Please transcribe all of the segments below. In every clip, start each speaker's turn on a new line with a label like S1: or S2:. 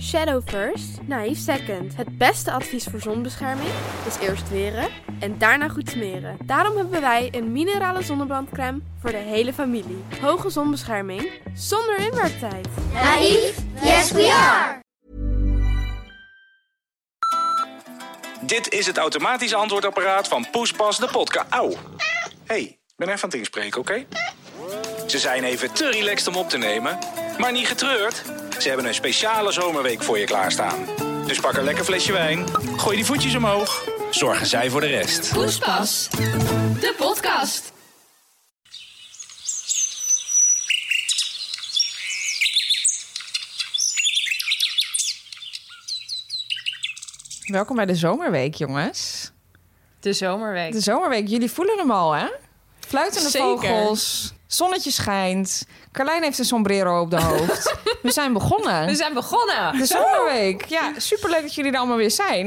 S1: Shadow first, naïef second. Het beste advies voor zonbescherming is eerst weren en daarna goed smeren. Daarom hebben wij een minerale zonnebrandcrème voor de hele familie. Hoge zonbescherming zonder inwerktijd.
S2: Naïef? Yes, we are!
S3: Dit is het automatische antwoordapparaat van Poespas de podcast. Auw. hey, ik ben even aan het inspreken, oké? Ze zijn even te relaxed om op te nemen. Maar niet getreurd. Ze hebben een speciale zomerweek voor je klaarstaan. Dus pak een lekker flesje wijn. Gooi die voetjes omhoog. Zorgen zij voor de rest.
S4: Poespas, de podcast.
S5: Welkom bij de zomerweek, jongens.
S6: De zomerweek.
S5: De zomerweek, jullie voelen hem al, hè? Fluitende
S6: Zeker.
S5: vogels, zonnetje schijnt. Carlijn heeft een sombrero op de hoofd. We zijn begonnen.
S6: We zijn begonnen.
S5: De zomerweek. Ja, superleuk dat jullie er allemaal weer zijn.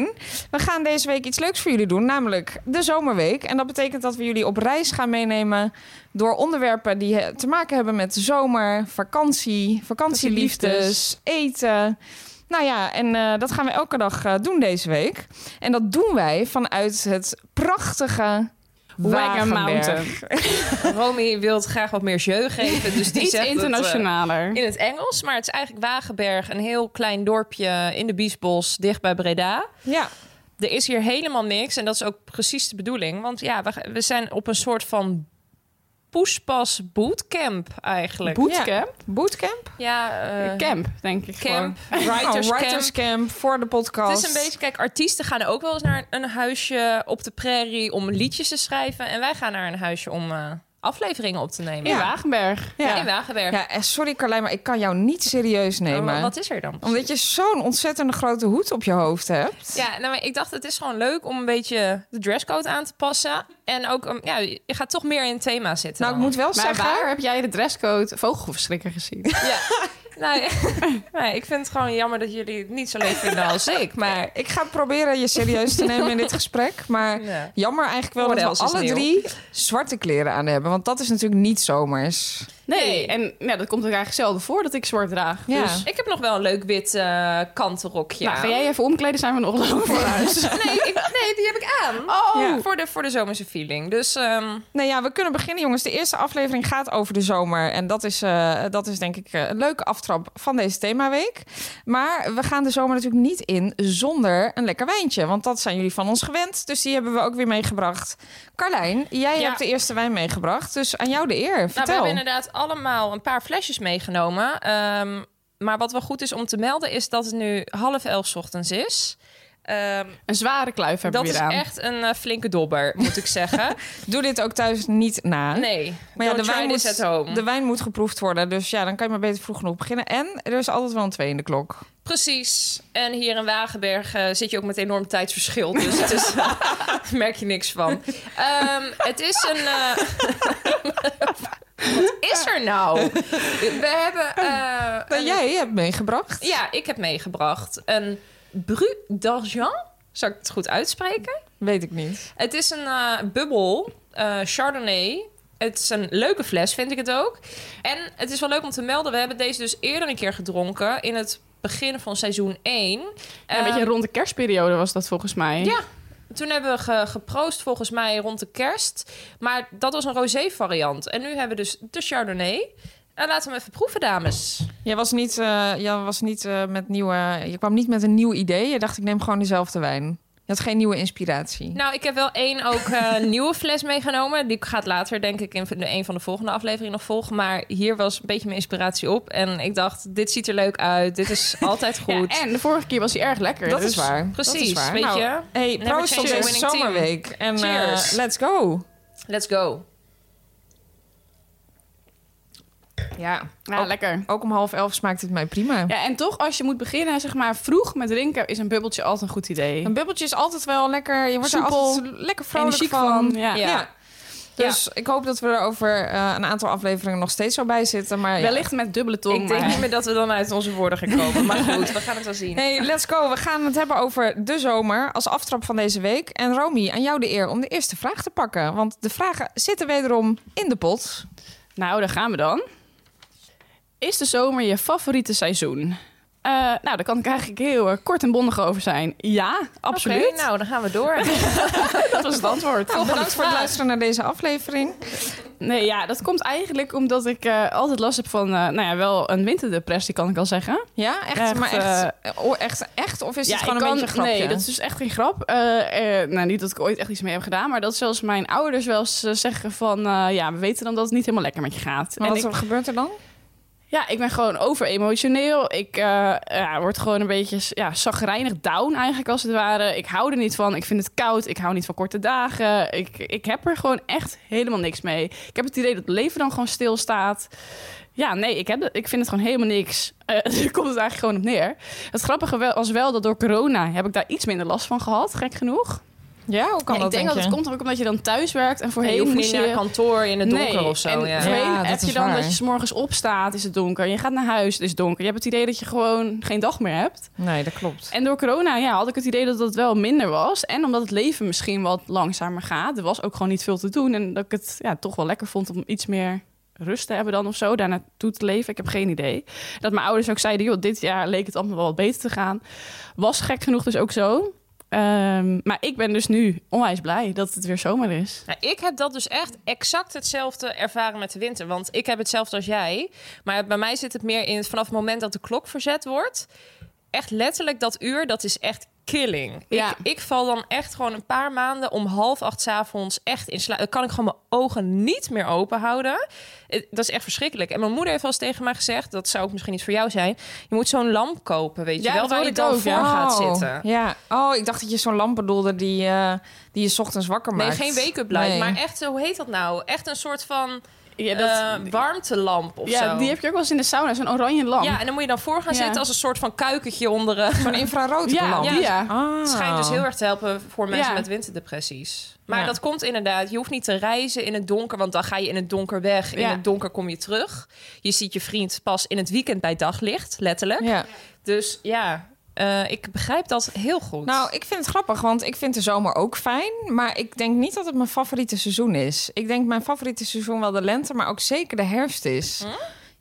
S5: We gaan deze week iets leuks voor jullie doen, namelijk de zomerweek. En dat betekent dat we jullie op reis gaan meenemen door onderwerpen die eh, te maken hebben met zomer, vakantie, vakantieliefdes, eten. Nou ja, en eh, dat gaan we elke dag eh, doen deze week. En dat doen wij vanuit het prachtige
S7: Wagen
S5: Wagenberg.
S7: Mountain.
S6: Romy wil graag wat meer jeu geven. Dus die
S7: Iets
S6: zegt dat, eh,
S7: internationaler.
S6: in het Engels, maar het is eigenlijk Wagenberg, een heel klein dorpje in de Biesbos, dicht bij Breda.
S5: Ja,
S6: Er is hier helemaal niks en dat is ook precies de bedoeling. Want ja, we, we zijn op een soort van poespas bootcamp eigenlijk.
S7: Bootcamp?
S5: bootcamp.
S6: ja, eh,
S7: Camp, denk ik
S6: camp,
S7: gewoon.
S6: writers camp.
S5: Oh, writers camp voor de podcast.
S6: Het is een beetje, kijk, artiesten gaan ook wel eens naar een huisje op de prairie om liedjes te schrijven. En wij gaan naar een huisje om eh, afleveringen op te nemen.
S7: In Wagenberg.
S5: Ja.
S6: In Wagenberg.
S5: Ja, eh, sorry Carlijn, maar ik kan jou niet serieus
S6: Maar
S5: nemen.
S6: Wat is er dan?
S5: Omdat je zo'n ontzettende grote hoed op je hoofd hebt.
S6: Ja, nou, maar ik dacht, het is gewoon leuk om een beetje de dresscode aan te passen. En ook, um, ja, je gaat toch meer in het thema zitten.
S5: nou, ik
S6: dan.
S5: moet wel
S7: Maar
S5: zeggen...
S7: waar heb jij de dresscode vogelverschrikker gezien?
S6: Ja. nou, ja. Nee, ik vind het gewoon jammer dat jullie het niet zo leuk vinden als ik. Maar
S5: Ik ga proberen je serieus te nemen in dit gesprek. Maar
S6: Ja.
S5: jammer eigenlijk wel
S6: What
S5: dat we
S6: else is
S5: alle
S6: nieuw?
S5: drie zwarte kleren aan hebben. Want dat is natuurlijk niet zomers.
S7: Nee,
S6: Nee.
S7: en nou, dat komt ook eigenlijk zelden voor dat ik zwart draag.
S5: Ja.
S7: Dus
S6: ik heb nog wel een leuk wit eh kantenrokje
S7: nou, ga
S6: aan.
S7: jij even omkleden, zijn we nog lang vooruit.
S6: Nee, ik, nee, die heb ik aan.
S7: Oh.
S5: Ja.
S6: Voor, de, voor de zomerse feeling. Dus ehm,
S5: Nou ja, we kunnen beginnen jongens. De eerste aflevering gaat over de zomer. En dat is, eh, dat is denk ik eh, een leuke aftrap van deze themaweek. Maar we gaan de zomer natuurlijk niet in zonder een lekker wijntje. Want dat zijn jullie van ons gewend. Dus die hebben we ook weer meegebracht. Carlijn, jij
S6: Ja.
S5: hebt de eerste wijn meegebracht. Dus aan jou de eer.
S6: nou, we
S5: Vertel.
S6: hebben inderdaad allemaal een paar flesjes meegenomen. Ehm, maar wat wel goed is om te melden, is dat het nu half elf 's ochtends is. Ehm,
S7: Een zware kluif hebben
S6: dat
S7: we
S6: is
S7: weer aan.
S6: echt een eh, flinke dobber, moet ik zeggen.
S5: Doe dit ook thuis niet na.
S6: Nee,
S5: Maar ja, de wijn,
S6: is
S5: moet,
S6: at home.
S5: de wijn moet geproefd worden. Dus ja, dan kan je maar beter vroeg genoeg beginnen. En er is altijd wel een twee in de klok.
S6: Precies. En hier in Wagenberg eh, zit je ook met enorm tijdsverschil. Dus het is, merk je niks van. Ehm, het is een... eh, Wat is er nou? We hebben... eh,
S5: Nou,
S6: een-
S5: jij hebt meegebracht.
S6: Ja, ik heb meegebracht een Bru d'Argent. Zal ik het goed uitspreken?
S5: Weet ik niet.
S6: Het is een eh, bubbel, eh, Chardonnay. Het is een leuke fles, vind ik het ook. En het is wel leuk om te melden, we hebben deze dus eerder een keer gedronken in het begin van seizoen 1.
S7: Ja, een beetje rond de kerstperiode was dat volgens mij.
S6: ehm, Ja, toen hebben we ge- geproost volgens mij rond de kerst. Maar dat was een rosé variant. En nu hebben we dus de Chardonnay. En laten we hem even proeven, dames.
S5: Jij was niet, eh, jij was niet eh, met nieuwe. Je kwam niet met een nieuw idee. Je dacht, ik neem gewoon dezelfde wijn. Je had geen nieuwe inspiratie.
S6: Nou, ik heb wel één ook eh, nieuwe fles meegenomen. Die gaat later, denk ik, in de- een van de volgende afleveringen nog volgen. Maar hier was een beetje mijn inspiratie op. En ik dacht, dit ziet er leuk uit. Dit is altijd
S7: Ja,
S6: goed.
S7: en de vorige keer was hij erg lekker.
S5: dat
S7: dus-
S5: is waar.
S6: precies,
S5: dat is waar.
S6: weet
S5: Nou,
S6: je?
S5: Hey,
S6: Never
S5: proost op
S6: change a
S5: deze
S6: winning team.
S5: zomerweek. En eh,
S6: Cheers.
S5: let's go.
S6: Let's go.
S5: Ja,
S7: Ja,
S5: ook,
S7: lekker.
S5: ook om half elf smaakt het mij prima.
S7: Oh. Ja, en toch, als je moet beginnen, zeg maar, vroeg met drinken, is een bubbeltje altijd een goed idee.
S5: Een bubbeltje is altijd wel lekker. Je wordt er
S7: Soepel,
S5: altijd lekker vrolijk
S7: energiek
S5: van.
S7: van, ja.
S5: Ja.
S6: Ja.
S5: Dus ik hoop dat we er over eh, een aantal afleveringen nog steeds zo bij zitten. Maar ja.
S7: Wellicht met dubbele tong.
S6: Ik denk
S7: maar-
S6: niet meer dat we dan uit onze woorden gaan komen. Maar goed, we gaan het wel zien.
S5: Hey, let's go. We gaan het hebben over de zomer als aftrap van deze week. En Romy, aan jou de eer om de eerste vraag te pakken. Want de vragen zitten wederom in de pot.
S7: Nou, daar gaan we dan. Is de zomer je favoriete seizoen? Eh, nou, daar kan ik eigenlijk heel eh, kort en bondig over zijn. Ja, absoluut.
S6: Oké, nou, dan gaan we door.
S7: dat was het antwoord.
S5: Nou, bedankt voor het luisteren naar deze aflevering.
S7: Nee, ja, dat komt eigenlijk omdat ik eh, altijd last heb van, eh, nou ja, wel een winterdepressie, kan ik al zeggen.
S5: Ja, echt?
S7: Echt, eh,
S5: maar echt, oh, echt, echt? Of is Dus
S7: ja,
S5: het gewoon
S7: ik
S5: een
S7: kan-
S5: beetje een grapje?
S7: Nee, dat is dus echt geen grap. Eh, eh, nou, niet dat ik ooit echt iets mee heb gedaan, maar dat zelfs mijn ouders wel eens eh, zeggen van, eh, ja, we weten dan dat het niet helemaal lekker met je gaat.
S5: Maar
S7: en
S5: wat
S7: ik,
S5: gebeurt er dan?
S7: ja, ik ben gewoon overemotioneel. Ik eh, ja, word gewoon een beetje ja, zagrijnig down eigenlijk als het ware. Ik hou er niet van. Ik vind het koud. Ik hou niet van korte dagen. Ik, ik heb er gewoon echt helemaal niks mee. Ik heb het idee dat het leven dan gewoon stilstaat. Ja, nee, ik, heb, het- ik vind het gewoon helemaal niks. Eh daar komt het eigenlijk gewoon op neer. Het grappige wel, was wel dat door corona heb ik daar iets minder last van gehad, gek genoeg.
S5: Ja, hoe kan
S7: Ja,
S5: dat,
S7: ik denk dat
S5: je?
S7: het komt ook omdat je dan thuis werkt en
S6: Je
S7: voorheen
S6: hoeft niet
S7: moest
S6: naar
S7: je
S6: kantoor in het donker of zo.
S7: en
S6: ja.
S7: voorheen
S5: Ja, dat
S7: heb je
S5: is
S7: dan
S5: waar.
S7: dat je 's morgens opstaat, is het donker. Je gaat naar huis, het is donker. Je hebt het idee dat je gewoon geen dag meer hebt.
S5: Nee, dat klopt.
S7: En door corona ja, had ik het idee dat dat wel minder was. En omdat het leven misschien wat langzamer gaat. Er was ook gewoon niet veel te doen. En dat ik het ja, toch wel lekker vond om iets meer rust te hebben dan of zo. Daar naartoe te leven, ik heb geen idee. Dat mijn ouders ook zeiden, joh, dit jaar leek het allemaal wel wat beter te gaan. Was gek genoeg dus ook zo. Ehm, maar ik ben dus nu onwijs blij dat het weer zomer is.
S6: Nou, ik heb dat dus echt exact hetzelfde ervaren met de winter. Want ik heb hetzelfde als jij. Maar bij mij zit het meer in het, vanaf het moment dat de klok verzet wordt. Echt letterlijk dat uur, dat is echt killing.
S7: Ja.
S6: Ik, ik val dan echt gewoon een paar maanden om half acht 's avonds echt in slaap. Dan kan ik gewoon mijn ogen niet meer open houden. Het- Dat is echt verschrikkelijk. En mijn moeder heeft wel eens tegen mij gezegd... dat zou ook misschien iets voor jou zijn. Je moet zo'n lamp kopen, weet je
S7: Ja,
S6: wel?
S7: dat
S6: Waar je
S7: hoorde
S6: dan
S7: ik
S6: voor
S7: ook, ja.
S6: gaat zitten.
S5: Ja. Oh, ik dacht dat je zo'n lamp bedoelde die, eh, die je 's ochtends wakker
S6: Nee,
S5: maakt.
S6: geen wake-up light,
S5: Nee.
S6: maar echt, hoe heet dat nou? Echt een soort van...
S7: Ja, Ehm,
S6: eh, warmtelamp of
S7: ja,
S6: zo.
S7: die heb je ook wel eens in de sauna, zo'n oranje lamp.
S6: Ja, en dan moet je dan voor gaan
S7: Ja.
S6: zitten als een soort van kuikentje onder. eh.
S5: Zo'n infrarood
S7: Ja,
S5: lamp.
S7: ja.
S5: Ah.
S6: Het schijnt dus heel erg te helpen voor mensen
S7: Ja.
S6: met winterdepressies. Maar
S5: Ja.
S6: dat komt inderdaad. Je hoeft niet te reizen in het donker, want dan ga je in het donker weg. In
S7: Ja.
S6: het donker kom je terug. Je ziet je vriend pas in het weekend bij daglicht, letterlijk.
S5: Ja.
S6: Dus ja, eh, ik begrijp dat heel goed.
S5: Nou, ik vind het grappig, want ik vind de zomer ook fijn. Maar ik denk niet dat het mijn favoriete seizoen is. Ik denk mijn favoriete seizoen wel de lente, maar ook zeker de herfst is.
S7: Hm?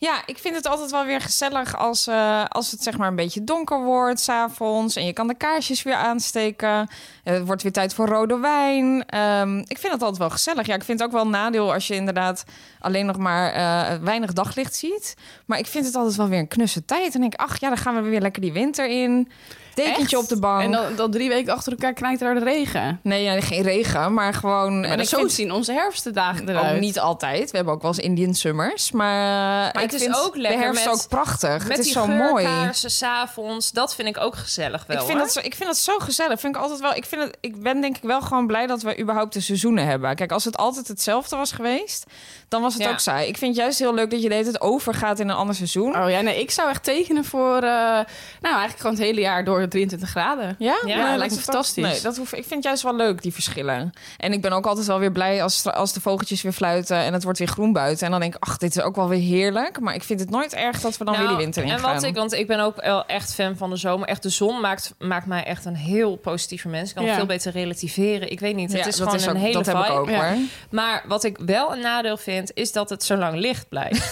S5: Ja, ik vind het altijd wel weer gezellig als, eh, als het zeg maar een beetje donker wordt s'avonds. En je kan de kaarsjes weer aansteken. Eh, Het wordt weer tijd voor rode wijn. Ehm, ik vind het altijd wel gezellig. Ja, ik vind het ook wel een nadeel als je inderdaad alleen nog maar eh, weinig daglicht ziet. Maar ik vind het altijd wel weer een knusse tijd. En ik, ach ja, dan gaan we weer lekker die winter in. Dekentje
S7: Echt?
S5: op de bank.
S7: En dan, dan drie weken achter elkaar knijt er de regen.
S5: Nee, ja, geen regen, maar gewoon.
S7: Maar
S5: en ik
S7: zo
S5: vind
S7: zien onze herfstdagen eruit.
S5: ook Oh, niet altijd. We hebben ook wel eens Indian summers, maar, ik
S6: het is
S5: vind
S6: ook lekker
S5: de herfst
S6: met-
S5: ook prachtig.
S6: Met
S5: het is
S6: die
S5: zo mooi.
S6: geurkaarsen s'avonds, dat vind ik ook gezellig wel.
S5: Ik vind,
S6: hoor.
S5: dat zo, ik vind dat zo gezellig. Vind ik, altijd wel, ik, vind het, ik ben denk ik wel gewoon blij dat we überhaupt de seizoenen hebben. Kijk, als het altijd hetzelfde was geweest, dan was het
S6: Ja.
S5: ook saai. Ik vind het juist heel leuk dat je de hele tijd overgaat in een ander seizoen.
S7: Oh ja, nee, ik zou echt tekenen voor, eh, nou eigenlijk gewoon het hele jaar door 23 graden.
S5: Ja,
S6: Ja,
S5: Nee,
S7: lijkt
S5: dat
S7: me
S5: hoeft
S7: fantastisch.
S5: ook- nee, dat hoef, ik vind het juist wel leuk, die verschillen. En ik ben ook altijd wel weer blij als, als de vogeltjes weer fluiten en het wordt weer groen buiten. En dan denk ik, ach, dit is ook wel weer heerlijk. Maar ik vind het nooit erg dat we dan weer
S6: Nou,
S5: die winter in
S6: en
S5: gaan.
S6: wat ik, want ik ben ook wel echt fan van de zomer. Echt, de zon maakt, maakt mij echt een heel positieve mens. Ik kan
S7: Ja.
S6: veel beter relativeren. Ik weet niet, het
S5: Ja,
S6: is
S5: dat
S6: gewoon een
S5: ook-
S6: hele
S5: Dat heb ik
S6: vibe.
S5: ook,
S7: Ja.
S5: hoor.
S6: Maar wat ik wel een nadeel vind, is dat het zo lang licht blijft.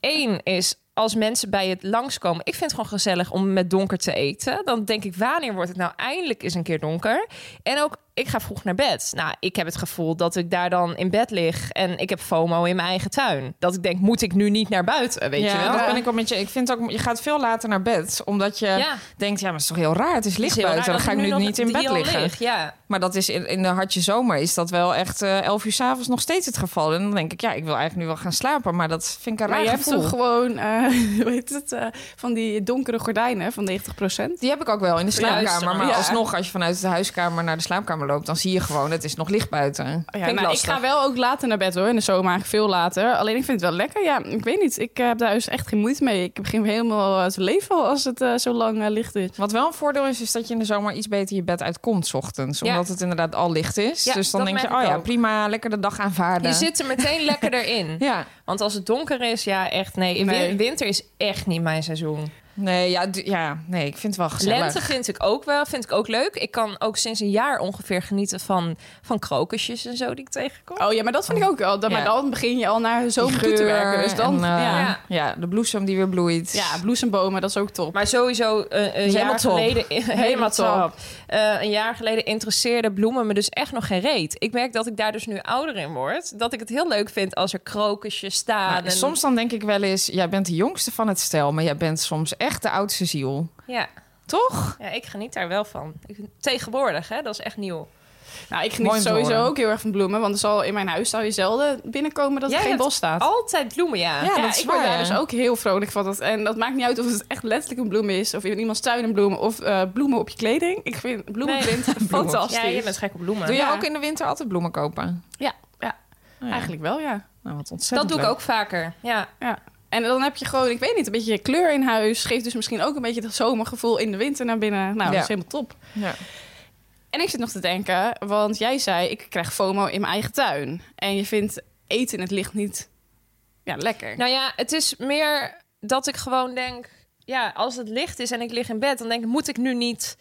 S6: Eén is als mensen bij het langskomen. Ik vind het gewoon gezellig om met donker te eten. Dan denk ik, wanneer wordt het nou eindelijk eens een keer donker? En ook, ik ga vroeg naar bed. Nou, ik heb het gevoel dat ik daar dan in bed lig en ik heb FOMO in mijn eigen tuin. Dat ik denk, moet ik nu niet naar buiten? Weet
S5: ja,
S6: je wel?
S5: dat ben ik wel met je. Ik vind ook, je gaat veel later naar bed, omdat je
S6: Ja.
S5: denkt, ja, maar het is toch heel raar. Het is
S6: Het
S5: licht
S6: is heel
S5: buiten,
S6: raar
S5: dan ga
S6: dat
S5: ik nu
S6: nog
S5: niet in
S6: hier
S5: bed
S6: al
S5: liggen.
S6: lig, Ja.
S5: Maar dat is in, in de hartje zomer is dat wel echt eh, elf uur s'avonds nog steeds het geval. En dan denk ik, ja, ik wil eigenlijk nu wel gaan slapen, maar dat vind ik een
S7: Maar
S5: raar
S7: je hebt
S5: gevoel.
S7: toch gewoon, eh hoe heet het, eh, van die donkere gordijnen van 90%?
S5: Die heb ik ook wel in de slaapkamer. Maar
S7: Ja.
S5: alsnog, als je vanuit de huiskamer naar de slaapkamer loopt, dan zie je gewoon, het is nog licht buiten.
S7: Ja,
S6: ik
S7: nou, ik
S6: lastig.
S7: ga wel ook later naar bed hoor, in de zomer eigenlijk veel later. Alleen ik vind het wel lekker, ja, ik weet niet. Ik eh, heb daar dus echt geen moeite mee. Ik begin helemaal eh, te leven al als het eh, zo lang eh, licht is.
S5: Wat wel een voordeel is, is dat je in de zomer iets beter je bed uitkomt 's ochtends.
S6: Ja.
S5: Omdat het inderdaad al licht is.
S6: Ja,
S5: dus dan
S6: dat
S5: denk je,
S6: merk
S5: oh
S6: ik
S5: ja,
S6: ook.
S5: prima, lekker de dag aanvaarden.
S6: Je zit er meteen lekker in.
S5: Ja,
S6: Want als het donker is, ja, echt nee. In win-
S7: Nee.
S6: Winter is echt niet mijn seizoen.
S5: Nee, ja, d- ja, nee, ik vind het wel gezellig.
S6: Lente vind ik ook wel, vind ik ook leuk. Ik kan ook sinds een jaar ongeveer genieten van, van krokusjes en zo die ik tegenkom.
S7: Oh ja, maar dat vind ik ook wel. Dat,
S6: Ja.
S7: Maar dan begin je al naar
S5: Die
S7: zomer toe te
S5: geur
S7: werken. Dus dan,
S5: en, eh,
S7: ja.
S5: ja. de bloesem die weer bloeit.
S7: ja, bloesembomen, dat is ook top.
S6: Maar sowieso eh, een
S5: helemaal
S6: jaar
S5: top.
S6: geleden... helemaal
S7: top.
S6: top. Eh, een jaar geleden interesseerde bloemen me dus echt nog geen reet. Ik merk dat ik daar dus nu ouder in word. Dat ik het heel leuk vind als er krokusjes staan.
S5: Maar
S6: en,
S5: Soms dan denk ik wel eens, jij bent de jongste van het stel, maar jij bent soms echt de oudste ziel.
S6: Ja,
S5: Toch?
S6: ja, ik geniet daar wel van. Ik- tegenwoordig, hè, dat is echt nieuw.
S7: Nou,
S5: Mooi
S7: ik geniet
S5: om te
S7: sowieso
S5: horen.
S7: ook heel erg van bloemen. Want er zal in mijn huis zou je zelden binnenkomen dat
S6: Jij
S7: er geen
S6: hebt
S7: bos staat.
S6: Altijd bloemen, ja.
S5: Ja.
S7: ja,
S5: dat is
S7: ik word
S5: waar,
S7: daar
S5: hè?
S7: dus ook heel vrolijk van. Dat, en dat maakt niet uit of het echt letterlijk een bloem is... of in iemands tuin een blind of eh, bloemen op je kleding. Ik vind bloemenblind fantastisch.
S6: Ja, je bent gek op bloemen.
S5: Doe jij
S7: Ja.
S5: ook in de winter altijd bloemen kopen?
S7: Ja, ja.
S5: Oh ja.
S7: eigenlijk wel, ja.
S5: Nou, wat ontzettend
S6: dat doe ik
S5: leuk.
S6: ook vaker. Ja.
S7: ja. En dan heb je gewoon, ik weet niet, een beetje kleur in huis. Geeft dus misschien ook een beetje dat zomergevoel in de winter naar binnen. Nou,
S5: Ja.
S7: dat is helemaal top.
S5: Ja.
S7: En ik zit nog te denken, want jij zei... ik krijg FOMO in mijn eigen tuin. En je vindt eten in het licht niet ja, lekker.
S6: Nou ja, het is meer dat ik gewoon denk... Ja, als het licht is en ik lig in bed, dan denk ik... moet ik nu niet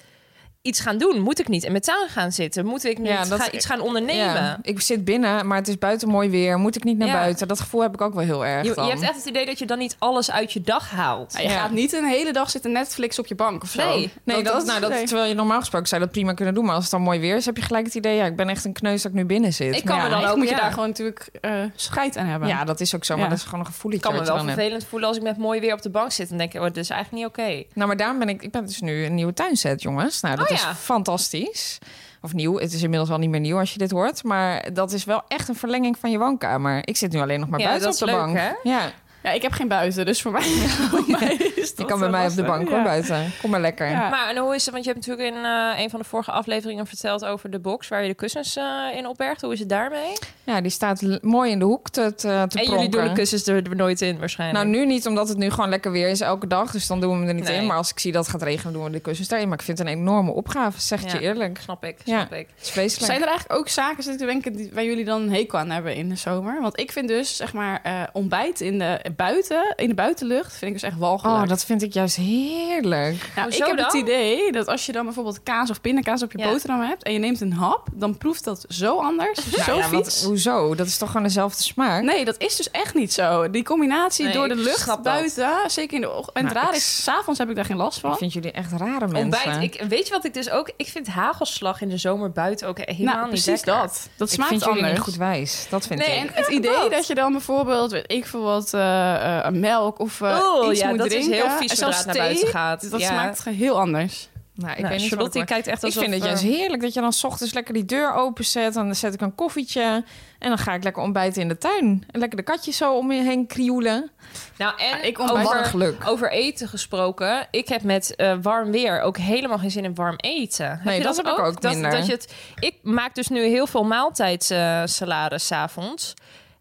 S6: iets gaan doen? Moet ik niet in mijn tuin gaan zitten? Moet ik niet
S5: Ja, dat- e-
S6: gaan- iets gaan
S5: Ja,
S6: ondernemen?
S5: ik zit binnen, maar het is buiten mooi weer. Moet ik niet naar
S6: Ja.
S5: buiten? Dat gevoel heb ik ook wel heel erg.
S6: Je, je
S5: dan.
S6: hebt echt het idee dat je dan niet alles uit je dag haalt.
S7: Nou, je
S5: Ja.
S7: gaat niet een hele dag zitten Netflix op je bank of zo.
S6: Nee.
S5: Nee, dat, nou, dat,
S7: nee.
S5: terwijl je normaal gesproken zou dat prima kunnen doen. Maar als het dan mooi weer is, heb je gelijk het idee... ja, ik ben echt een kneus dat ik nu binnen zit.
S6: Ik kan
S5: Maar
S6: me
S5: ja,
S6: dan ook,
S7: moet je
S6: ja.
S7: daar gewoon natuurlijk eh scheid aan hebben.
S5: Ja, dat is ook zo. Maar
S7: Ja.
S5: dat is gewoon een gevoel
S6: Ik kan me
S5: dat je
S6: wel
S5: dan hebt.
S6: vervelend voelen als ik met mooi weer op de bank zit... en denk ik, oh, dit is eigenlijk niet oké.
S5: Nou, maar daarom ben ik... Ik ben dus nu een nieuwe tuinset, jongens. Nou, dat
S6: Oh,
S5: is
S6: ja.
S5: fantastisch. Of nieuw. Het is inmiddels al niet meer nieuw als je dit hoort. Maar dat is wel echt een verlenging van je woonkamer. Ik zit nu alleen nog maar
S6: Ja,
S5: buiten
S6: dat
S5: op
S6: is
S5: de
S6: leuk,
S5: bank.
S6: hè?
S5: Ja,
S7: Ja, ik heb geen buiten, dus voor mij, voor mij is
S5: je
S7: dat
S5: kan bij
S7: wel
S5: mij op de
S7: lastig.
S5: bank, hoor,
S7: Ja.
S5: buiten. Kom maar lekker.
S7: Ja.
S6: Maar en hoe is het? Want je hebt natuurlijk in eh, een van de vorige afleveringen verteld over de box waar je de kussens eh, in opbergt. Hoe is het daarmee?
S5: Ja, die staat l- mooi in de hoek te, te, te
S6: en jullie
S5: pronken.
S6: doen de kussens er, er nooit in
S5: Nou,
S6: waarschijnlijk.
S5: nu niet, omdat het nu gewoon lekker weer is elke dag. Dus dan doen we hem er niet
S6: Nee.
S5: in. Maar als ik zie dat het gaat regenen, doen we de kussens erin. Maar ik vind het een enorme opgave, zeg ik
S6: Ja.
S5: je eerlijk.
S6: snap ik,
S5: Ja.
S6: snap ik. Oh,
S5: Het is vreselijk.
S7: Zijn er eigenlijk ook zaken zit ik te denken, die, waar jullie dan een hekel aan hebben in de zomer? Want ik vind dus, zeg maar, eh, ontbijt in de, buiten, in de buitenlucht vind ik dus echt walgelijk.
S5: Oh, dat vind ik juist heerlijk.
S7: Nou, ik
S6: Hoezo
S7: heb het
S6: dan?
S7: idee dat als je dan bijvoorbeeld kaas of pindakaas op je
S6: Ja.
S7: boterham hebt... en je neemt een hap, dan proeft dat zo anders, zo
S5: ja, want
S7: vies.
S5: hoezo? Dat is toch gewoon dezelfde smaak?
S7: Nee, dat is dus echt niet zo. Die combinatie
S6: Nee,
S7: door de
S6: ik
S7: lucht
S6: snap dat.
S7: buiten, zeker in de ochtend. En het
S5: Nou,
S7: raar
S5: ik-
S7: is, s'avonds heb ik daar geen last
S5: Ik
S7: van.
S5: vind jullie echt rare mensen.
S6: Ontbijt. Ik, weet je wat ik dus ook... Ik vind hagelslag in de zomer buiten ook helemaal
S7: nou,
S6: niet
S7: precies
S6: lekker.
S7: dat. Dat
S5: Ik
S7: smaakt
S5: vind jullie
S7: anders.
S5: niet goed wijs. Dat vind
S6: Nee,
S5: ik.
S7: En het idee dat. je dan bijvoorbeeld, weet ik veel wat, eh, eh, melk of eh,
S6: Oh,
S7: iets
S6: ja,
S7: moet
S6: dat
S7: drinken.
S6: is heel vies zodra
S7: en zelfs
S6: het naar
S7: thee,
S6: buiten gaat.
S7: Dat
S6: ja.
S7: smaakt heel anders.
S5: Nou, ik
S6: Nou,
S5: weet niet
S6: Charlotte,
S5: wat ik
S6: die kijkt echt
S5: Ik
S6: alsof...
S5: vind het
S6: eh,
S5: juist heerlijk dat je dan 's ochtends lekker die deur openzet. En dan zet ik een koffietje. En dan ga ik lekker ontbijten in de tuin. En lekker de katjes zo om je heen krioelen.
S6: Nou, en
S7: ik ontbijt-
S5: Wat een
S6: over,
S5: geluk.
S6: over eten gesproken. Ik heb met eh, warm weer ook helemaal geen zin in warm eten. Heb
S5: Nee,
S6: je
S5: dat heb ik ook
S6: dat,
S5: minder.
S6: Dat je het, ik maak dus nu heel veel maaltijdsalades 's avonds.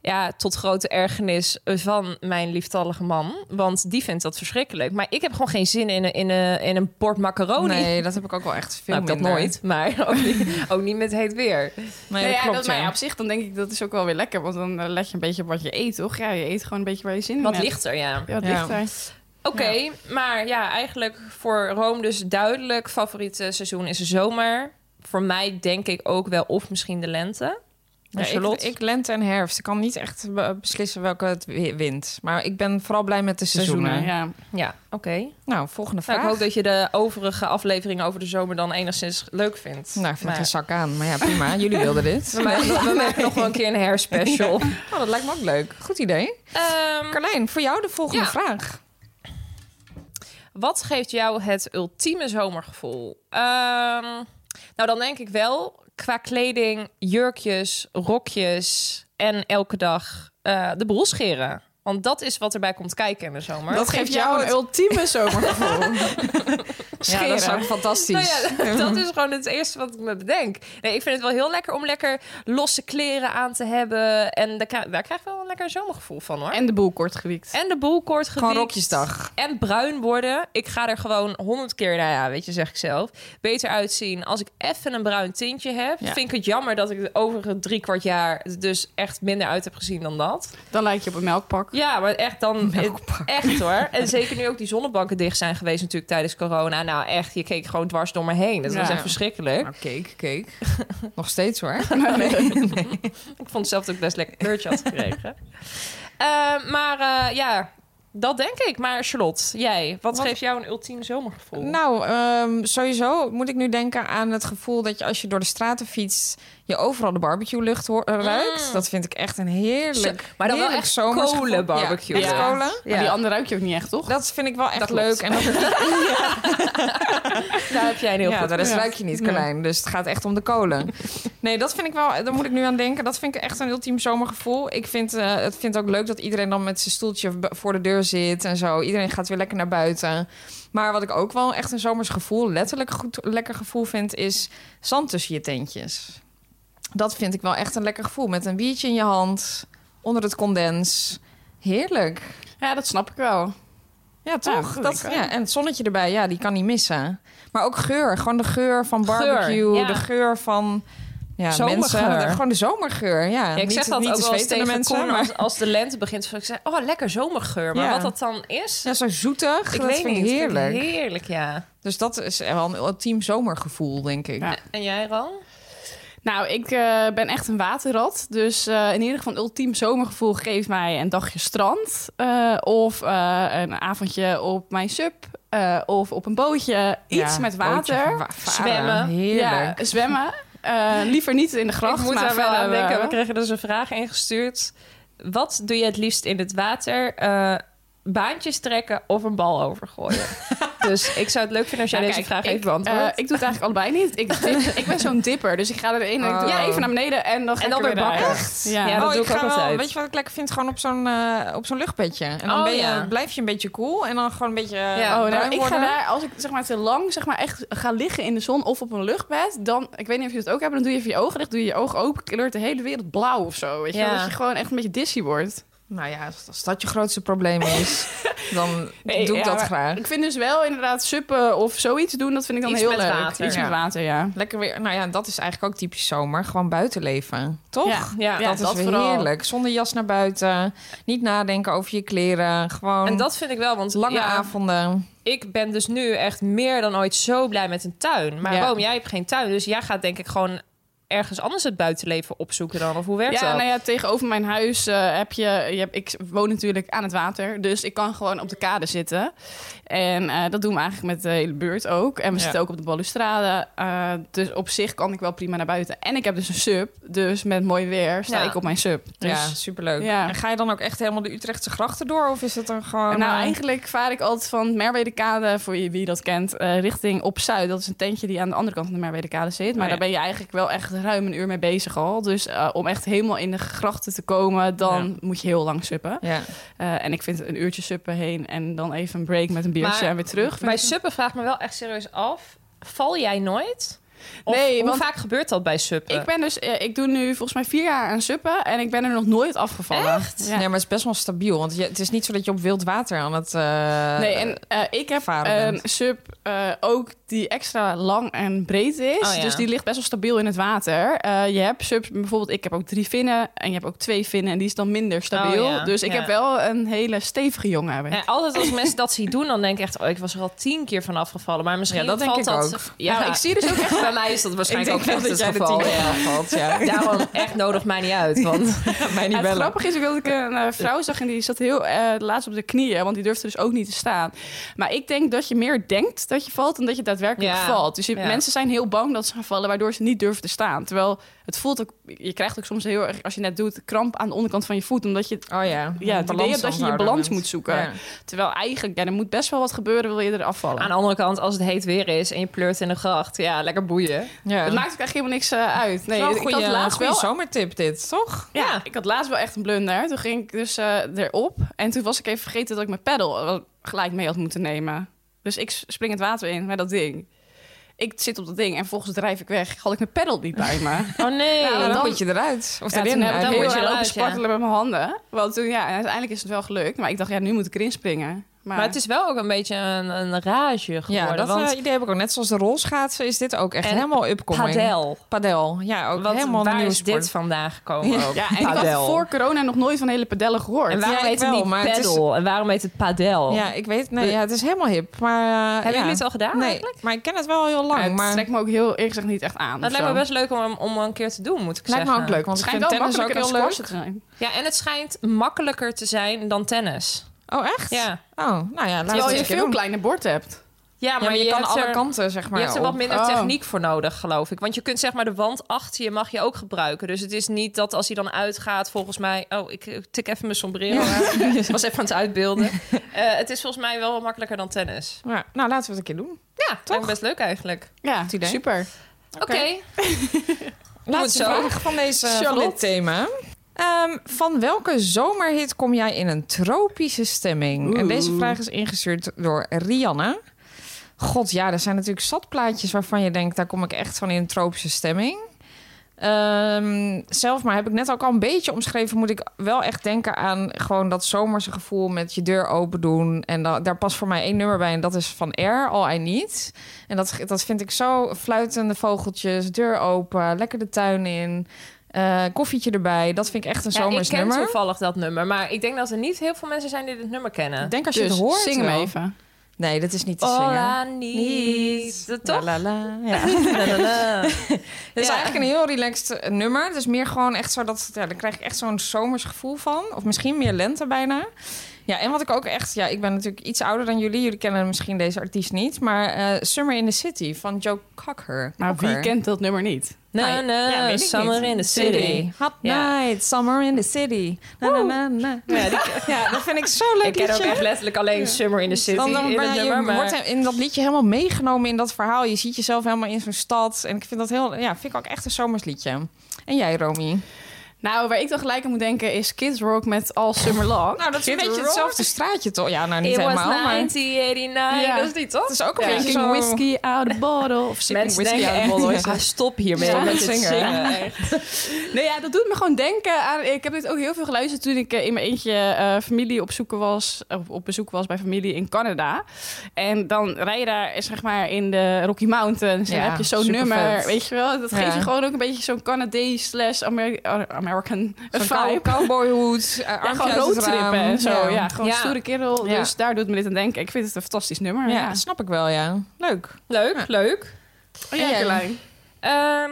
S6: Ja, tot grote ergernis van mijn lieftallige man. Want die vindt dat verschrikkelijk. Maar ik heb gewoon geen zin in een, in een, in een bord macaroni.
S5: Nee, dat heb ik ook wel echt veel
S6: Oh, Nou, ik dat
S5: minder.
S6: nooit. Maar ook niet, ook niet met heet weer.
S5: Nee,
S7: Nou
S5: dat
S7: ja,
S5: klopt,
S7: dat,
S5: ja.
S7: maar ja, op zich dan denk ik dat is ook wel weer lekker. Want dan eh, leg je een beetje op wat je eet, toch? Ja, je eet gewoon een beetje waar je zin in
S6: Wat
S7: hebt.
S6: lichter, ja.
S7: Ja, wat
S5: Ja.
S7: lichter.
S6: Oké, maar ja, eigenlijk voor Rome dus duidelijk favoriete seizoen is de zomer. Voor mij denk ik ook wel of misschien de lente.
S5: Ja,
S6: Ja,
S5: ik,
S6: Charlotte?
S5: ik lente en herfst. Ik kan niet echt be- beslissen welke het wi- wint. Maar ik ben vooral blij met de seizoenen.
S7: Seizoenen, ja.
S6: Ja, oké.
S5: Nou, volgende vraag.
S6: Nou, ik hoop dat je de overige afleveringen over de zomer dan enigszins leuk vindt.
S5: Nou, ik vind
S6: Maar
S5: geen zak aan. Maar ja, prima. Jullie wilden dit.
S6: we maken, we maken nog wel een keer een hairspecial.
S5: Oh, dat lijkt me ook leuk. Goed idee.
S6: Ehm,
S5: Carlijn, voor jou de volgende
S6: Ja.
S5: vraag.
S6: wat geeft jou het ultieme zomergevoel? Ehm, nou, dan denk ik wel qua kleding, jurkjes, rokjes en elke dag eh, de boel scheren. Want dat is wat erbij komt kijken in de zomer.
S7: Dat geeft jou een ultieme zomergevoel.
S5: Ja, dat is ook fantastisch.
S6: Nou ja, dat is gewoon het eerste wat ik me bedenk. Nee, ik vind het wel heel lekker om lekker losse kleren aan te hebben. En daar, kri- daar krijg ik wel een lekker zomergevoel van hoor.
S7: En de boel kort gewiekt.
S6: En de boel kort gewiekt.
S5: Gewoon rokjesdag.
S6: En bruin worden. Ik ga er gewoon honderd keer, nou ja, weet je, zeg ik zelf. Beter uitzien als ik even een bruin tintje heb.
S7: Ja.
S6: Vind ik het jammer dat ik de overige drie kwart jaar dus echt minder uit heb gezien dan dat.
S7: Dan lijkt je op een melkpak.
S6: Ja, maar echt dan... Echt hoor. En zeker nu ook die zonnebanken dicht zijn geweest natuurlijk tijdens corona. Nou echt, je keek gewoon dwars door me heen. Dat was
S7: Ja.
S6: echt verschrikkelijk.
S5: Nou, cake, cake. Nog steeds hoor.
S6: Ik vond zelf dat ik best lekker kleurtje had gekregen. Eh, maar eh, ja, dat denk ik. Maar Charlotte, jij, wat,
S5: Wat-
S6: geeft jou een ultiem zomergevoel?
S5: Nou, ehm, sowieso moet ik nu denken aan het gevoel dat je als je door de straten fietst, je overal de barbecue lucht eh, ruikt. Dat vind ik echt een heerlijk,
S6: Mm. Zo- maar dan wel
S5: heerlijk
S6: echt
S5: zomersgevoel.
S6: kolenbarbecue.
S5: Ja, echt
S6: Ja.
S5: kolen.
S7: Maar die andere ruik je ook niet echt, toch?
S5: Dat vind ik wel echt
S6: Dat klopt.
S5: leuk. En dat,
S6: daar heb jij een heel
S5: ja,
S6: goed...
S5: de rest ruik je niet, Carlijn. Dus het gaat echt om de kolen. nee, dat vind ik wel... Daar moet ik nu aan denken. Dat vind ik echt een ultiem zomergevoel. Ik vind eh, het vind ook leuk dat iedereen dan met zijn stoeltje b- voor de deur zit en zo. Iedereen gaat weer lekker naar buiten. Maar wat ik ook wel echt een zomers gevoel, letterlijk goed, lekker gevoel vind... is zand tussen je tentjes. Dat vind ik wel echt een lekker gevoel. Met een biertje in je hand, onder het condens. Heerlijk.
S7: Ja, dat snap ik wel.
S5: Ja, toch?
S7: dat
S5: dat,
S7: denk ik
S5: ja, en het zonnetje erbij, ja, die kan niet missen. Maar ook geur, gewoon de geur van barbecue,
S6: Geur, ja.
S5: de geur van ja,
S6: Zomergeur.
S5: mensen. de- Gewoon de zomergeur, ja.
S6: Ja, ik zeg dat ook wel eens tegen mensen,
S5: maar
S6: als, als de lente begint. Ik zeg, oh, lekker zomergeur. Maar
S5: Ja.
S6: wat dat dan is,
S5: ja, zo zoetig,
S6: ik
S5: dat
S6: weet
S5: vind
S6: niet.
S5: ik heerlijk.
S6: Vind ik heerlijk, ja.
S5: Dus dat is wel een ultiem zomergevoel, denk ik.
S7: Ja.
S6: En jij, Ran?
S7: Nou, ik eh, ben echt een waterrat. Dus eh, in ieder geval een ultiem zomergevoel geeft mij een dagje strand. eh, of eh, een avondje op mijn sub. eh, of op een bootje. Iets
S5: Ja,
S7: met
S5: bootje,
S7: water.
S5: wa- varen,
S6: Zwemmen.
S5: Heerlijk.
S7: Ja, zwemmen. Eh, liever niet in de gracht.
S6: ik moet
S7: maar
S6: daar wel
S7: verder,
S6: aan denken.
S7: eh,
S6: We kregen dus een vraag ingestuurd. Wat doe je het liefst in het water? Eh, baantjes trekken of een bal overgooien? dus ik zou het leuk vinden als jij
S7: Nou,
S6: deze
S7: kijk,
S6: vraag
S7: ik,
S6: even beantwoordt.
S7: eh, ik doe het eigenlijk allebei niet. Ik, ik, ik ben zo'n dipper, dus ik ga er de ene ik doe
S5: Oh.
S7: even naar beneden en dan ga
S6: En dan
S7: ik er
S6: weer bakken.
S7: uit.
S6: Echt?
S7: Ja.
S6: Ja, dat
S5: oh,
S6: doe
S5: ik
S6: ik
S5: ga
S6: ook
S5: wel-
S6: altijd.
S5: Weet je wat ik lekker vind? Gewoon op zo'n eh, op zo'n luchtbedje. En dan
S6: Oh,
S5: ben je,
S6: ja.
S5: blijf je een beetje cool. En dan gewoon een beetje eh,
S6: Ja,
S7: Oh, nou,
S5: bruin
S7: ik ga
S5: worden.
S7: daar, als ik zeg maar te lang zeg maar, echt ga liggen in de zon of op een luchtbed, dan, ik weet niet of je dat ook hebt, dan doe je even je ogen dicht, doe je je ogen open, kleurt de hele wereld blauw of zo. Weet je?
S6: Ja.
S7: wel, Dat je gewoon echt een beetje dizzy wordt.
S5: Nou ja, als- als dat je grootste probleem is, dan
S7: Nee,
S5: doe ik
S7: ja,
S5: dat
S7: maar
S5: graag.
S7: Ik vind dus wel inderdaad suppen of zoiets doen, dat vind ik dan
S6: Iets
S7: heel
S6: met
S7: leuk.
S6: water.
S7: Iets
S5: Ja.
S7: met water, ja.
S5: Lekker weer, nou ja, dat is eigenlijk ook typisch zomer. Gewoon buiten leven, toch?
S7: Ja,
S6: ja,
S5: dat, is weer
S7: vooral.
S5: heerlijk. Zonder jas naar buiten, niet nadenken over je kleren. Gewoon
S6: En dat vind ik wel, want
S5: lange
S6: ja,
S5: avonden.
S6: ik ben dus nu echt meer dan ooit zo blij met een tuin. Maar
S5: Ja.
S6: Boom, jij hebt geen tuin. Dus jij gaat denk ik gewoon ergens anders het buitenleven opzoeken dan. Of hoe werkt
S7: Ja,
S6: dat?
S7: nou ja, tegenover mijn huis eh, heb je, je hebt, ik woon natuurlijk aan het water, dus ik kan gewoon op de kade zitten. En eh, dat doen we eigenlijk met de hele buurt ook. En we
S5: Ja.
S7: zitten ook op de balustrade, eh, dus op zich kan ik wel prima naar buiten. En ik heb dus een sub, dus met mooi weer sta
S6: Ja.
S7: ik op mijn sub. Dus,
S5: ja, superleuk.
S7: Ja.
S5: En ga je dan ook echt helemaal de Utrechtse grachten door? Of is dat dan gewoon...
S7: Nou,
S5: eh,
S7: eigenlijk vaar ik altijd van Merwedekade, voor wie wie dat kent, eh, richting op Zuid. Dat is een tentje die aan de andere kant van de Merwedekade zit. Maar
S5: ja.
S7: daar ben je eigenlijk wel echt ruim een uur mee bezig al. Dus eh, om echt helemaal in de grachten te komen, dan moet je heel lang suppen.
S5: Ja.
S7: Eh, en ik vind een uurtje suppen heen en dan even een break met een biertje
S6: Maar
S7: en weer terug.
S6: Bij suppen vraagt me wel echt serieus af. Val jij nooit? Of
S7: Nee,
S6: hoe
S7: want-
S6: vaak gebeurt dat bij suppen?
S7: Ik ben dus, eh, ik doe nu volgens mij vier jaar aan suppen en ik ben er nog nooit afgevallen. Echt?
S5: Nee, maar het is best wel stabiel. Want je, het is niet zo dat je op wild water aan het... eh,
S7: Nee, en eh, ik heb
S5: varen
S7: een
S5: bent.
S7: sub eh, ook die extra lang en breed is.
S6: Oh, ja.
S7: Dus die ligt best wel stabiel in het water. Eh, je hebt subs, bijvoorbeeld ik heb ook drie vinnen en je hebt ook twee vinnen en die is dan minder stabiel.
S6: Oh, ja.
S7: Dus ik
S6: Ja.
S7: heb wel een hele stevige jongen. heb ik.
S6: Ja, altijd als mensen dat zien doen, dan denk ik echt... oh, ik was er al tien keer van afgevallen. Maar misschien
S5: Ja, dat denk
S6: valt
S5: ik
S6: dat...
S5: ook.
S6: Ja,
S7: Nou, ik zie dus ook echt...
S6: Bij mij is dat
S5: ik
S6: waarschijnlijk
S5: denk
S6: ook
S5: wel
S6: echt
S5: dat
S6: het
S5: jij de
S6: geval.
S5: tien
S6: ja.
S5: jaar valt, ja.
S6: Daarom echt nodig mij niet uit. Want
S5: Mij niet
S7: Ja, het
S5: bellen.
S7: grappige is ook dat ik een eh, vrouw zag en die zat heel eh, laatst op de knieën, want die durfde dus ook niet te staan. Maar ik denk dat je meer denkt dat je valt dan dat je daadwerkelijk
S6: Ja,
S7: valt. Dus je-
S6: ja.
S7: mensen zijn heel bang dat ze gaan vallen, waardoor ze niet durven te staan. Terwijl het voelt ook, je krijgt ook soms heel erg, als je net doet, kramp aan de onderkant van je voet, omdat je
S5: Oh ja.
S7: ja, het idee hebt dat je je balans moet zoeken. Terwijl eigenlijk, ja, er moet best wel wat gebeuren, wil je eraf vallen.
S6: aan de andere kant, als het heet weer is en je pleurt in de gracht... ja, lekker boeien.
S5: Ja.
S7: Het maakt ook echt helemaal niks eh, uit. Nee,
S5: Nee, een
S7: ik
S5: goede,
S7: had laatst wel
S5: zomertip dit, toch?
S7: Ja,
S6: Ja.
S7: ik had laatst wel echt een blunder. Toen ging ik dus eh, erop. En toen was ik even vergeten dat ik mijn pedal eh, gelijk mee had moeten nemen. Dus ik spring het water in met dat ding. ik zit op dat ding en volgens drijf ik weg. Had ik mijn pedal niet bij me.
S6: Oh nee.
S5: Ja, dan,
S7: dan-
S5: moet je eruit. Of
S7: Ja,
S5: erin.
S7: toen heb ik
S5: eigenlijk.
S7: heel
S6: moet je
S7: erg lopen
S6: eruit, ja.
S7: spartelen met mijn handen. Want toen, ja, en uiteindelijk is het wel gelukt. Maar ik dacht, ja, nu moet ik erin springen. Maar,
S6: Maar het is wel ook een beetje een, een rage geworden.
S5: Ja, dat
S6: want
S5: eh, idee heb ik ook. Net zoals de rolschaatsen is dit ook echt
S6: En
S5: helemaal upcoming.
S6: padel.
S5: Padel, ja, ook
S6: Want
S5: helemaal een
S6: waar
S5: nieuw
S6: is dit
S5: sport.
S6: vandaan gekomen ook?
S7: ja, en ik had
S5: Padel.
S7: voor corona nog nooit van hele padellen gehoord.
S6: En waarom
S5: Ja, ik
S6: heet het
S5: wel,
S6: niet
S5: maar het is-
S6: paddle? En waarom heet het padel?
S5: Ja, ik weet, nee, ja, het is helemaal hip. Maar, eh,
S6: Hebben
S5: ja.
S6: jullie het al gedaan
S5: Nee,
S6: eigenlijk?
S5: maar ik ken het wel heel
S7: Ja,
S5: lang.
S7: het
S5: maar
S7: trekt me ook heel eerlijk gezegd niet echt aan.
S6: Dat
S7: of
S6: lijkt me
S7: zo.
S6: best leuk om, om een keer te doen, moet ik
S5: lijkt me
S6: zeggen.
S5: ook leuk, want
S7: Het
S5: ik
S7: schijnt
S5: vind
S7: wel
S5: tennis ook
S7: makkelijker dan
S5: heel
S7: squashen
S5: leuk.
S7: te zijn.
S6: Ja, en het schijnt makkelijker te zijn dan tennis.
S5: Oh, echt?
S6: Ja,
S5: Oh, nou ja, laten we
S7: Terwijl
S5: het
S7: je
S5: een keer
S7: veel
S5: doen.
S7: kleiner bord hebt.
S6: ja
S5: Ja, maar je, kan
S6: hebt
S5: alle
S6: er-
S5: kanten, zeg maar,
S6: Je hebt er
S5: op.
S6: wat minder
S7: Oh.
S6: techniek voor nodig, geloof ik. Want je kunt zeg maar de wand achter je mag je ook gebruiken. Dus het is niet dat als hij dan uitgaat, volgens mij... Oh, ik eh, tik even mijn sombrero aan. Ik was even aan het uitbeelden. Eh, het is volgens mij wel wat makkelijker dan tennis.
S5: Ja, nou, laten we het een keer doen.
S6: Ja, toch? best leuk eigenlijk.
S7: Ja,
S5: idee.
S7: super.
S6: Oké.
S5: Laatste
S6: Goed zo.
S5: vraag van, deze, van
S7: Charlotte.
S5: dit thema. Ehm, van welke zomerhit kom jij in een tropische stemming? En deze vraag is ingestuurd door Rianne. God, ja, er zijn natuurlijk zat plaatjes waarvan je denkt... daar kom ik echt van in een tropische stemming. Ehm, zelf, maar heb ik net ook al een beetje omschreven... moet ik wel echt denken aan gewoon dat zomerse gevoel... met je deur open doen. En da- daar past voor mij één nummer bij en dat is van Air, All I Need. En dat, dat vind ik zo. Fluitende vogeltjes, deur open, lekker de tuin in. eh, koffietje erbij. Dat vind ik echt een
S6: Ja, ik
S5: zomers
S6: ken
S5: nummer.
S6: toevallig dat nummer. Maar ik denk dat er niet heel veel mensen zijn die dit nummer kennen.
S5: Ik denk als je
S7: Dus
S5: het hoort.
S7: zing hem
S5: wel.
S7: even.
S5: Nee, dat is niet te zingen.
S6: Hola, niet. Dat Toch?
S5: La, la, la. Ja.
S6: La, la, la.
S5: Het is
S6: Ja.
S5: eigenlijk een heel relaxed eh, nummer. Het is meer gewoon echt zo dat... Ja, daar krijg ik echt zo'n zomers gevoel van. Of misschien meer lente bijna. Ja, en wat ik ook echt... Ja, ik ben natuurlijk iets ouder dan jullie. Jullie kennen misschien deze artiest niet. Maar eh, Summer in the City van Joe Cocker.
S7: Maar wie
S5: Cocker.
S7: kent dat nummer niet?
S6: Na, na,
S5: Ja, weet ik
S6: Nou, summer
S5: niet.
S6: in the city.
S5: Hot
S6: Ja.
S5: night, summer in the city. Na, na, na, na.
S6: Ja, die-
S5: Ja, dat vind ik zo leuk
S6: ik ken ook
S5: liedje.
S6: echt letterlijk alleen Summer in the City
S5: Dan, dan
S6: in
S5: ben
S6: het
S5: je,
S6: nummer. Maar...
S5: wordt in dat liedje helemaal meegenomen in dat verhaal. Je ziet jezelf helemaal in zo'n stad. En ik vind dat heel, ja, vind ik ook echt een zomers liedje. En jij, Romy?
S7: Nou, waar ik dan gelijk aan moet denken is Kids Rock met All Summer Long.
S5: Nou, dat is een beetje hetzelfde straatje, toch? Ja, nou, niet
S6: It was
S5: helemaal, maar het
S6: 1989.
S7: Ja.
S6: Dat is die toch?
S5: is ook een beetje
S7: Drinking
S5: zo...
S7: whiskey out of bottle. Of sipping
S6: Mensen
S7: whiskey
S6: denken
S7: out of
S6: echt,
S7: bottle.
S6: ah, stop hiermee
S5: Stop
S6: met
S5: met
S6: het zingen.
S5: zingen.
S6: echt.
S7: Nee, ja, dat doet me gewoon denken aan... Ik heb dit ook heel veel geluisterd toen ik eh, in mijn eentje eh, familie op, zoeken was, op, op bezoek was bij familie in Canada. En dan rij je daar eh, zeg maar in de Rocky Mountains en
S5: Ja,
S7: dan heb je zo'n
S5: supervet.
S7: nummer. Weet je wel, dat
S5: Ja.
S7: geeft je gewoon ook een beetje zo'n Canadees slash Ameri- eh, American
S5: Zo'n cow-
S7: vibe.
S5: cowboyhoed, eh,
S7: Ja,
S5: armpje
S7: gewoon
S5: uit het raam.
S7: roadtrippen en zo. Ja, gewoon
S6: Ja.
S7: stoere kerel.
S5: Ja.
S7: Dus daar doet me dit aan denken. Ik vind het een fantastisch nummer.
S5: Ja, snap ik wel, ja. Leuk.
S6: Leuk, leuk.
S7: Oh, ja,
S5: Ja.
S7: Carlijn.
S6: Ehm,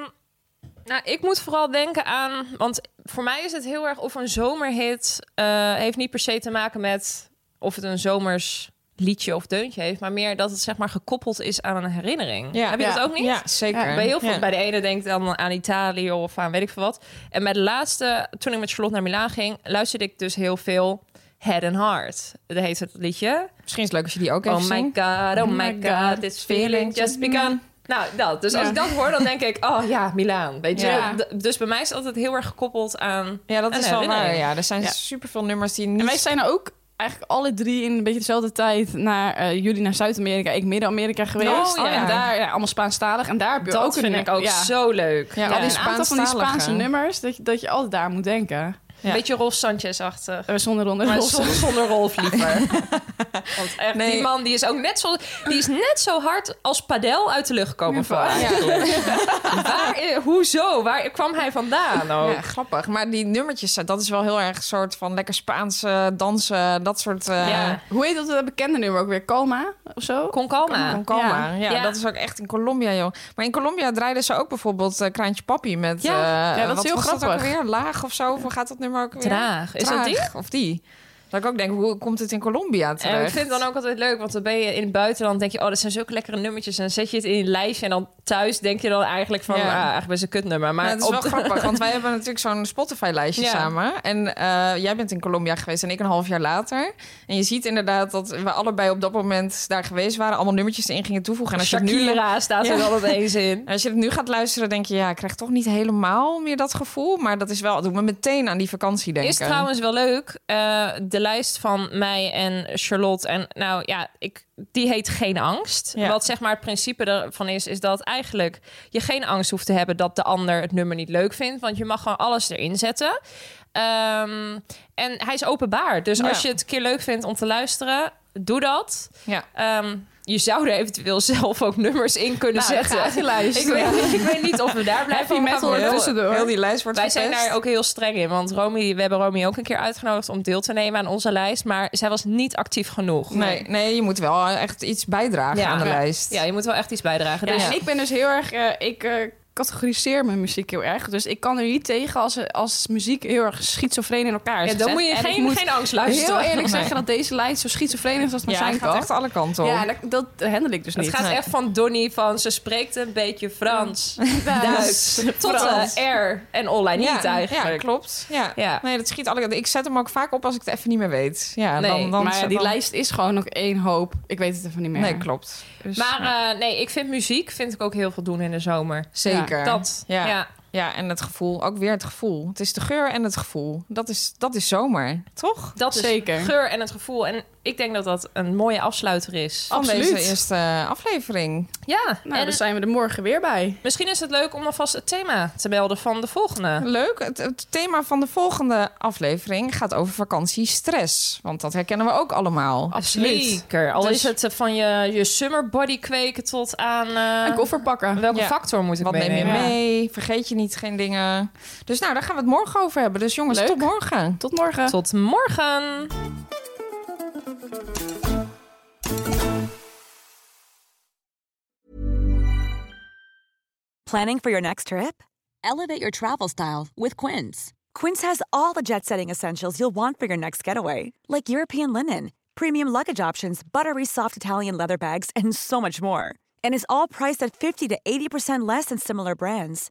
S6: nou, ik moet vooral denken aan. Want voor mij is het heel erg of een zomerhit. eh, heeft niet per se te maken met of het een zomers liedje of deuntje heeft. Maar meer dat het zeg maar gekoppeld is aan een herinnering.
S5: Ja.
S6: Heb je
S7: Ja.
S6: dat ook niet?
S5: Ja, zeker.
S6: Bij heel veel.
S5: Ja.
S6: Bij de ene denk ik dan aan Italië of aan weet ik veel wat. En bij de laatste, toen ik met Charlotte naar Milaan ging, luisterde ik dus heel veel Head and Heart. Dat heet het liedje.
S5: Misschien is het leuk als je die ook even
S6: Oh my
S5: zingt.
S6: god, oh my god, this feeling just begun. Nou, dat. Dus als ik dat hoor, dan denk ik, oh ja, Milaan. Weet je?
S5: Ja.
S6: D- Dus bij mij is het altijd heel erg gekoppeld aan.
S5: Ja, dat
S6: Een
S5: is wel waar.
S6: herinnering.
S5: Ja, er zijn
S7: Ja.
S5: superveel nummers die niet...
S7: En wij zijn er ook eigenlijk alle drie in een beetje dezelfde tijd naar eh, jullie naar Zuid-Amerika, ik Midden-Amerika geweest.
S6: Oh, ja.
S7: En daar ja, allemaal Spaanstalig. En daar heb je
S6: Dat
S7: ook
S6: vind
S7: een,
S6: ik ook
S7: ja,
S6: zo leuk.
S5: Ja,
S6: Ja,
S5: al die
S7: een aantal van die
S5: Spaanstaligen.
S7: Spaanse nummers dat je, dat je altijd daar moet denken.
S5: Ja.
S6: Een beetje Rolf Sanchez-achtig.
S7: Eh, zonder ronde.
S6: Maar
S7: Rossen.
S6: zonder, zonder Rolf liever. Want echt,
S5: Nee.
S6: die man die is ook net zo, die is net zo hard als Padel uit de lucht gekomen. voor mij. Waar, eh, hoezo? Waar kwam hij vandaan ook?
S5: Ja, grappig. Maar die nummertjes, dat is wel heel erg een soort van lekker Spaanse dansen, dat soort... eh
S6: Ja.
S7: Hoe heet dat, dat bekende nummer ook weer? Calma of zo?
S6: Con calma.
S5: Con Calma. Ja.
S6: Ja.
S5: dat is ook echt in Colombia, joh. Maar in Colombia draaiden ze ook bijvoorbeeld eh, Kraantje Papi met...
S6: Ja.
S5: eh,
S7: Ja, dat is
S5: wat
S7: heel
S5: was Dat ook
S7: grappig.
S5: weer laag of zo? Of hoe gaat dat nummer ook weer?
S6: Traag. Is dat die?
S5: Traag, Of die. Eh, Dat ik ook denk, hoe komt het in Colombia
S6: En
S5: terecht?
S6: ik vind het dan ook altijd leuk, want dan ben je in het buitenland, denk je, oh, dat zijn zulke lekkere nummertjes. En dan zet je het in je lijstje en dan thuis denk je dan eigenlijk van,
S5: Ja.
S6: ah, eigenlijk best een kutnummer. Maar
S5: Maar het is wel
S6: op de-
S5: grappig, want wij hebben natuurlijk zo'n Spotify-lijstje
S6: Ja.
S5: samen. En eh, jij bent in Colombia geweest en ik een half jaar later. En je ziet inderdaad dat we allebei op dat moment daar geweest waren. Allemaal nummertjes erin gingen toevoegen. En als, je het, nu,
S6: Shakira staat er
S5: Ja.
S6: wel opeens in.
S5: als je het nu gaat luisteren, denk je... ja, ik krijg toch niet helemaal meer dat gevoel. Maar dat is wel, het doet me meteen aan die vakantie denken.
S6: Is trouwens wel leuk. eh, de lijst van mij en Charlotte. En nou ja, ik, die heet Geen Angst.
S5: Ja.
S6: Wat zeg maar het principe ervan is, is dat eigenlijk je geen angst hoeft te hebben dat de ander het nummer niet leuk vindt. Want je mag gewoon alles erin zetten. Ehm, en hij is openbaar. Dus
S5: Ja.
S6: als je het een keer leuk vindt om te luisteren, doe dat.
S5: Ja.
S6: Ehm, je zou er eventueel zelf ook nummers in kunnen
S7: Nou, dan
S6: zetten.
S7: gaat hij
S6: ik,
S7: luisteren.
S6: weet, ik weet niet of we daar blijven
S7: Happy
S6: van gaan
S7: metal
S6: worden.
S7: heel- tussendoor.
S5: Oh, Heel die lijst wordt
S6: Wij zijn
S5: verpest.
S6: daar ook heel streng in. Want Romy, we hebben Romy ook een keer uitgenodigd om deel te nemen aan onze lijst. Maar zij was niet actief genoeg.
S5: Nee, nee, je moet wel echt iets bijdragen
S6: Ja.
S5: aan de
S6: Ja.
S5: lijst.
S6: Ja, je moet wel echt iets bijdragen.
S7: Ja,
S6: dus
S7: en ik ben dus heel erg. eh, ik eh, categoriseer mijn muziek heel erg. Dus ik kan er niet tegen als, als muziek heel erg schizofreen in elkaar is.
S6: Ja, dan
S7: gezet.
S6: moet je
S7: En ik
S6: geen,
S7: moet
S6: geen angst
S7: heel
S6: luisteren.
S7: eerlijk
S6: Nee.
S7: zeggen dat deze lijst zo schizofreen is als het maar
S5: Ja,
S7: zijn
S5: het
S7: kan.
S5: gaat echt alle kanten op.
S7: ja, dat, dat handel ik dus
S6: Het
S7: niet.
S6: gaat
S5: Nee.
S6: echt van Donny van ze spreekt een beetje Frans, Duits, tot eh,
S7: Frans.
S6: de R en online
S5: Ja,
S6: nou, niet eigenlijk.
S5: Ja, klopt. Ja.
S6: Ja.
S5: Nee, dat schiet alle kanten. Ik zet hem ook vaak op als ik het even niet meer weet. Ja,
S6: Nee,
S5: dan, dan,
S7: maar ja, die
S5: dan-
S7: lijst is gewoon nog één hoop. Ik weet het even niet meer.
S5: Nee, klopt. Dus,
S6: Maar
S5: ja.
S6: eh, nee, ik vind muziek vind ik ook heel veel doen in de zomer.
S5: zeker. Ja,
S6: Dat, ja.
S5: Ja. Ja, en het gevoel. Ook weer het gevoel. Het is de geur en het gevoel. Dat is, dat is zomer, toch?
S6: dat is
S7: Zeker.
S6: geur en het gevoel. En ik denk dat dat een mooie afsluiter is.
S5: Van
S7: Absoluut.
S5: deze eerste aflevering.
S6: Ja,
S7: Nou,
S6: en
S7: dan zijn we er morgen weer bij.
S6: misschien is het leuk om alvast het thema te melden van de volgende.
S5: Leuk. Het, het thema van de volgende aflevering gaat over vakantiestress. Want dat herkennen we ook allemaal.
S6: Zeker. Al
S5: Dus-
S6: is het eh, van je, je summer body kweken tot aan... eh,
S7: en koffer pakken.
S6: welke
S5: Ja.
S6: factor moet ik
S5: Wat neem je
S6: meenemen?
S5: mee? Vergeet je niet geen dingen. Dus nou, daar gaan we het morgen over hebben. Dus jongens,
S7: Leuk.
S5: tot morgen.
S7: Tot morgen.
S6: Tot morgen!
S8: Planning for your next trip? Elevate your travel style with Quince. Quince has all the jet setting essentials you'll want for your next getaway, like European linen, premium luggage options, buttery soft Italian leather bags, and so much more. And is all priced at 50 to 80% less than similar brands.